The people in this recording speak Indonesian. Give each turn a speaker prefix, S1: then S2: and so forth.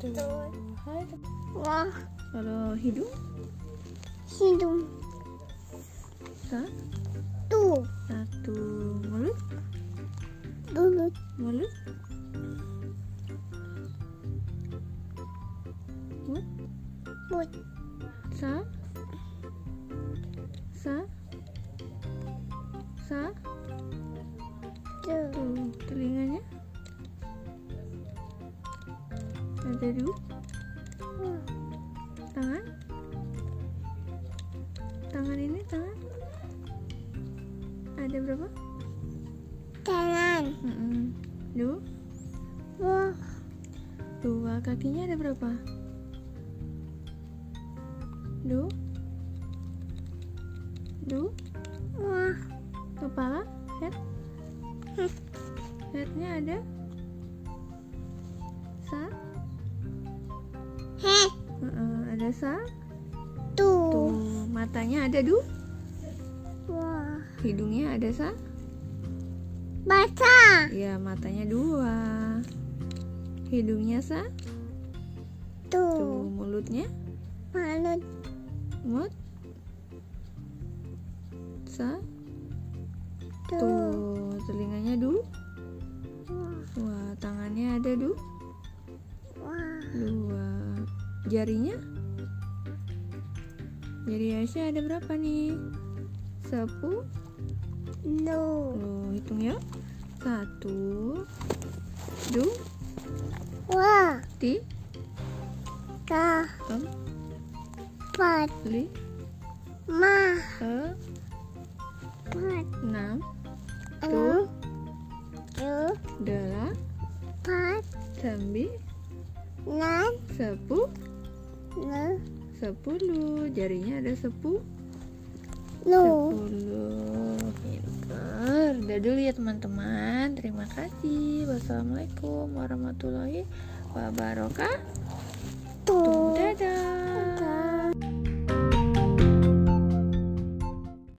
S1: Tuh.
S2: Hai.
S1: Wah,
S2: Kalau hidung?
S1: hidung
S2: Sa-
S1: tuh
S2: Satu. Mulut?
S1: mulut
S2: Mulut? Mulut?
S1: mulut
S2: Sa? Sa? Sa?
S1: tuh
S2: Tuh, telinganya? Ada dua. Tangan? Tangan ini tangan? Ada berapa?
S1: tangan
S2: Mm-mm. Dua.
S1: wah
S2: Dua kakinya ada berapa? Dua. Dua.
S1: wah
S2: Kepala? Head?
S1: Hmm.
S2: Headnya ada? Sa?
S1: head
S2: Mm-mm, Ada sa?
S1: tuh
S2: Tuh, matanya ada du?
S1: wah
S2: Hidungnya ada sa?
S1: baca
S2: Ya, matanya dua. Hidungnya sa? Tuh,
S1: tuh
S2: mulutnya?
S1: mulut
S2: Mut? Sa?
S1: tuh
S2: Tuh, telinganya du?
S1: wah
S2: Wah, tangannya ada du?
S1: wah
S2: Dua. Jarinya? Jari Aisyah ada berapa nih? Sepuluh.
S1: no
S2: Loh, hitung ya. Satu, dua,
S1: wah
S2: tiga,
S1: ka pat
S2: lima,
S1: ma pat
S2: enam,
S1: anu tu
S2: delapan,
S1: pat
S2: sembilan,
S1: nan
S2: sepuluh,
S1: nu
S2: sepuluh. Jarinya ada sepuluh.
S1: nu
S2: Sepuluh. Pinter. Udah dulu ya teman-teman. Terima kasih. Wassalamualaikum warahmatullahi wabarakatuh.
S1: tu
S2: Dadah.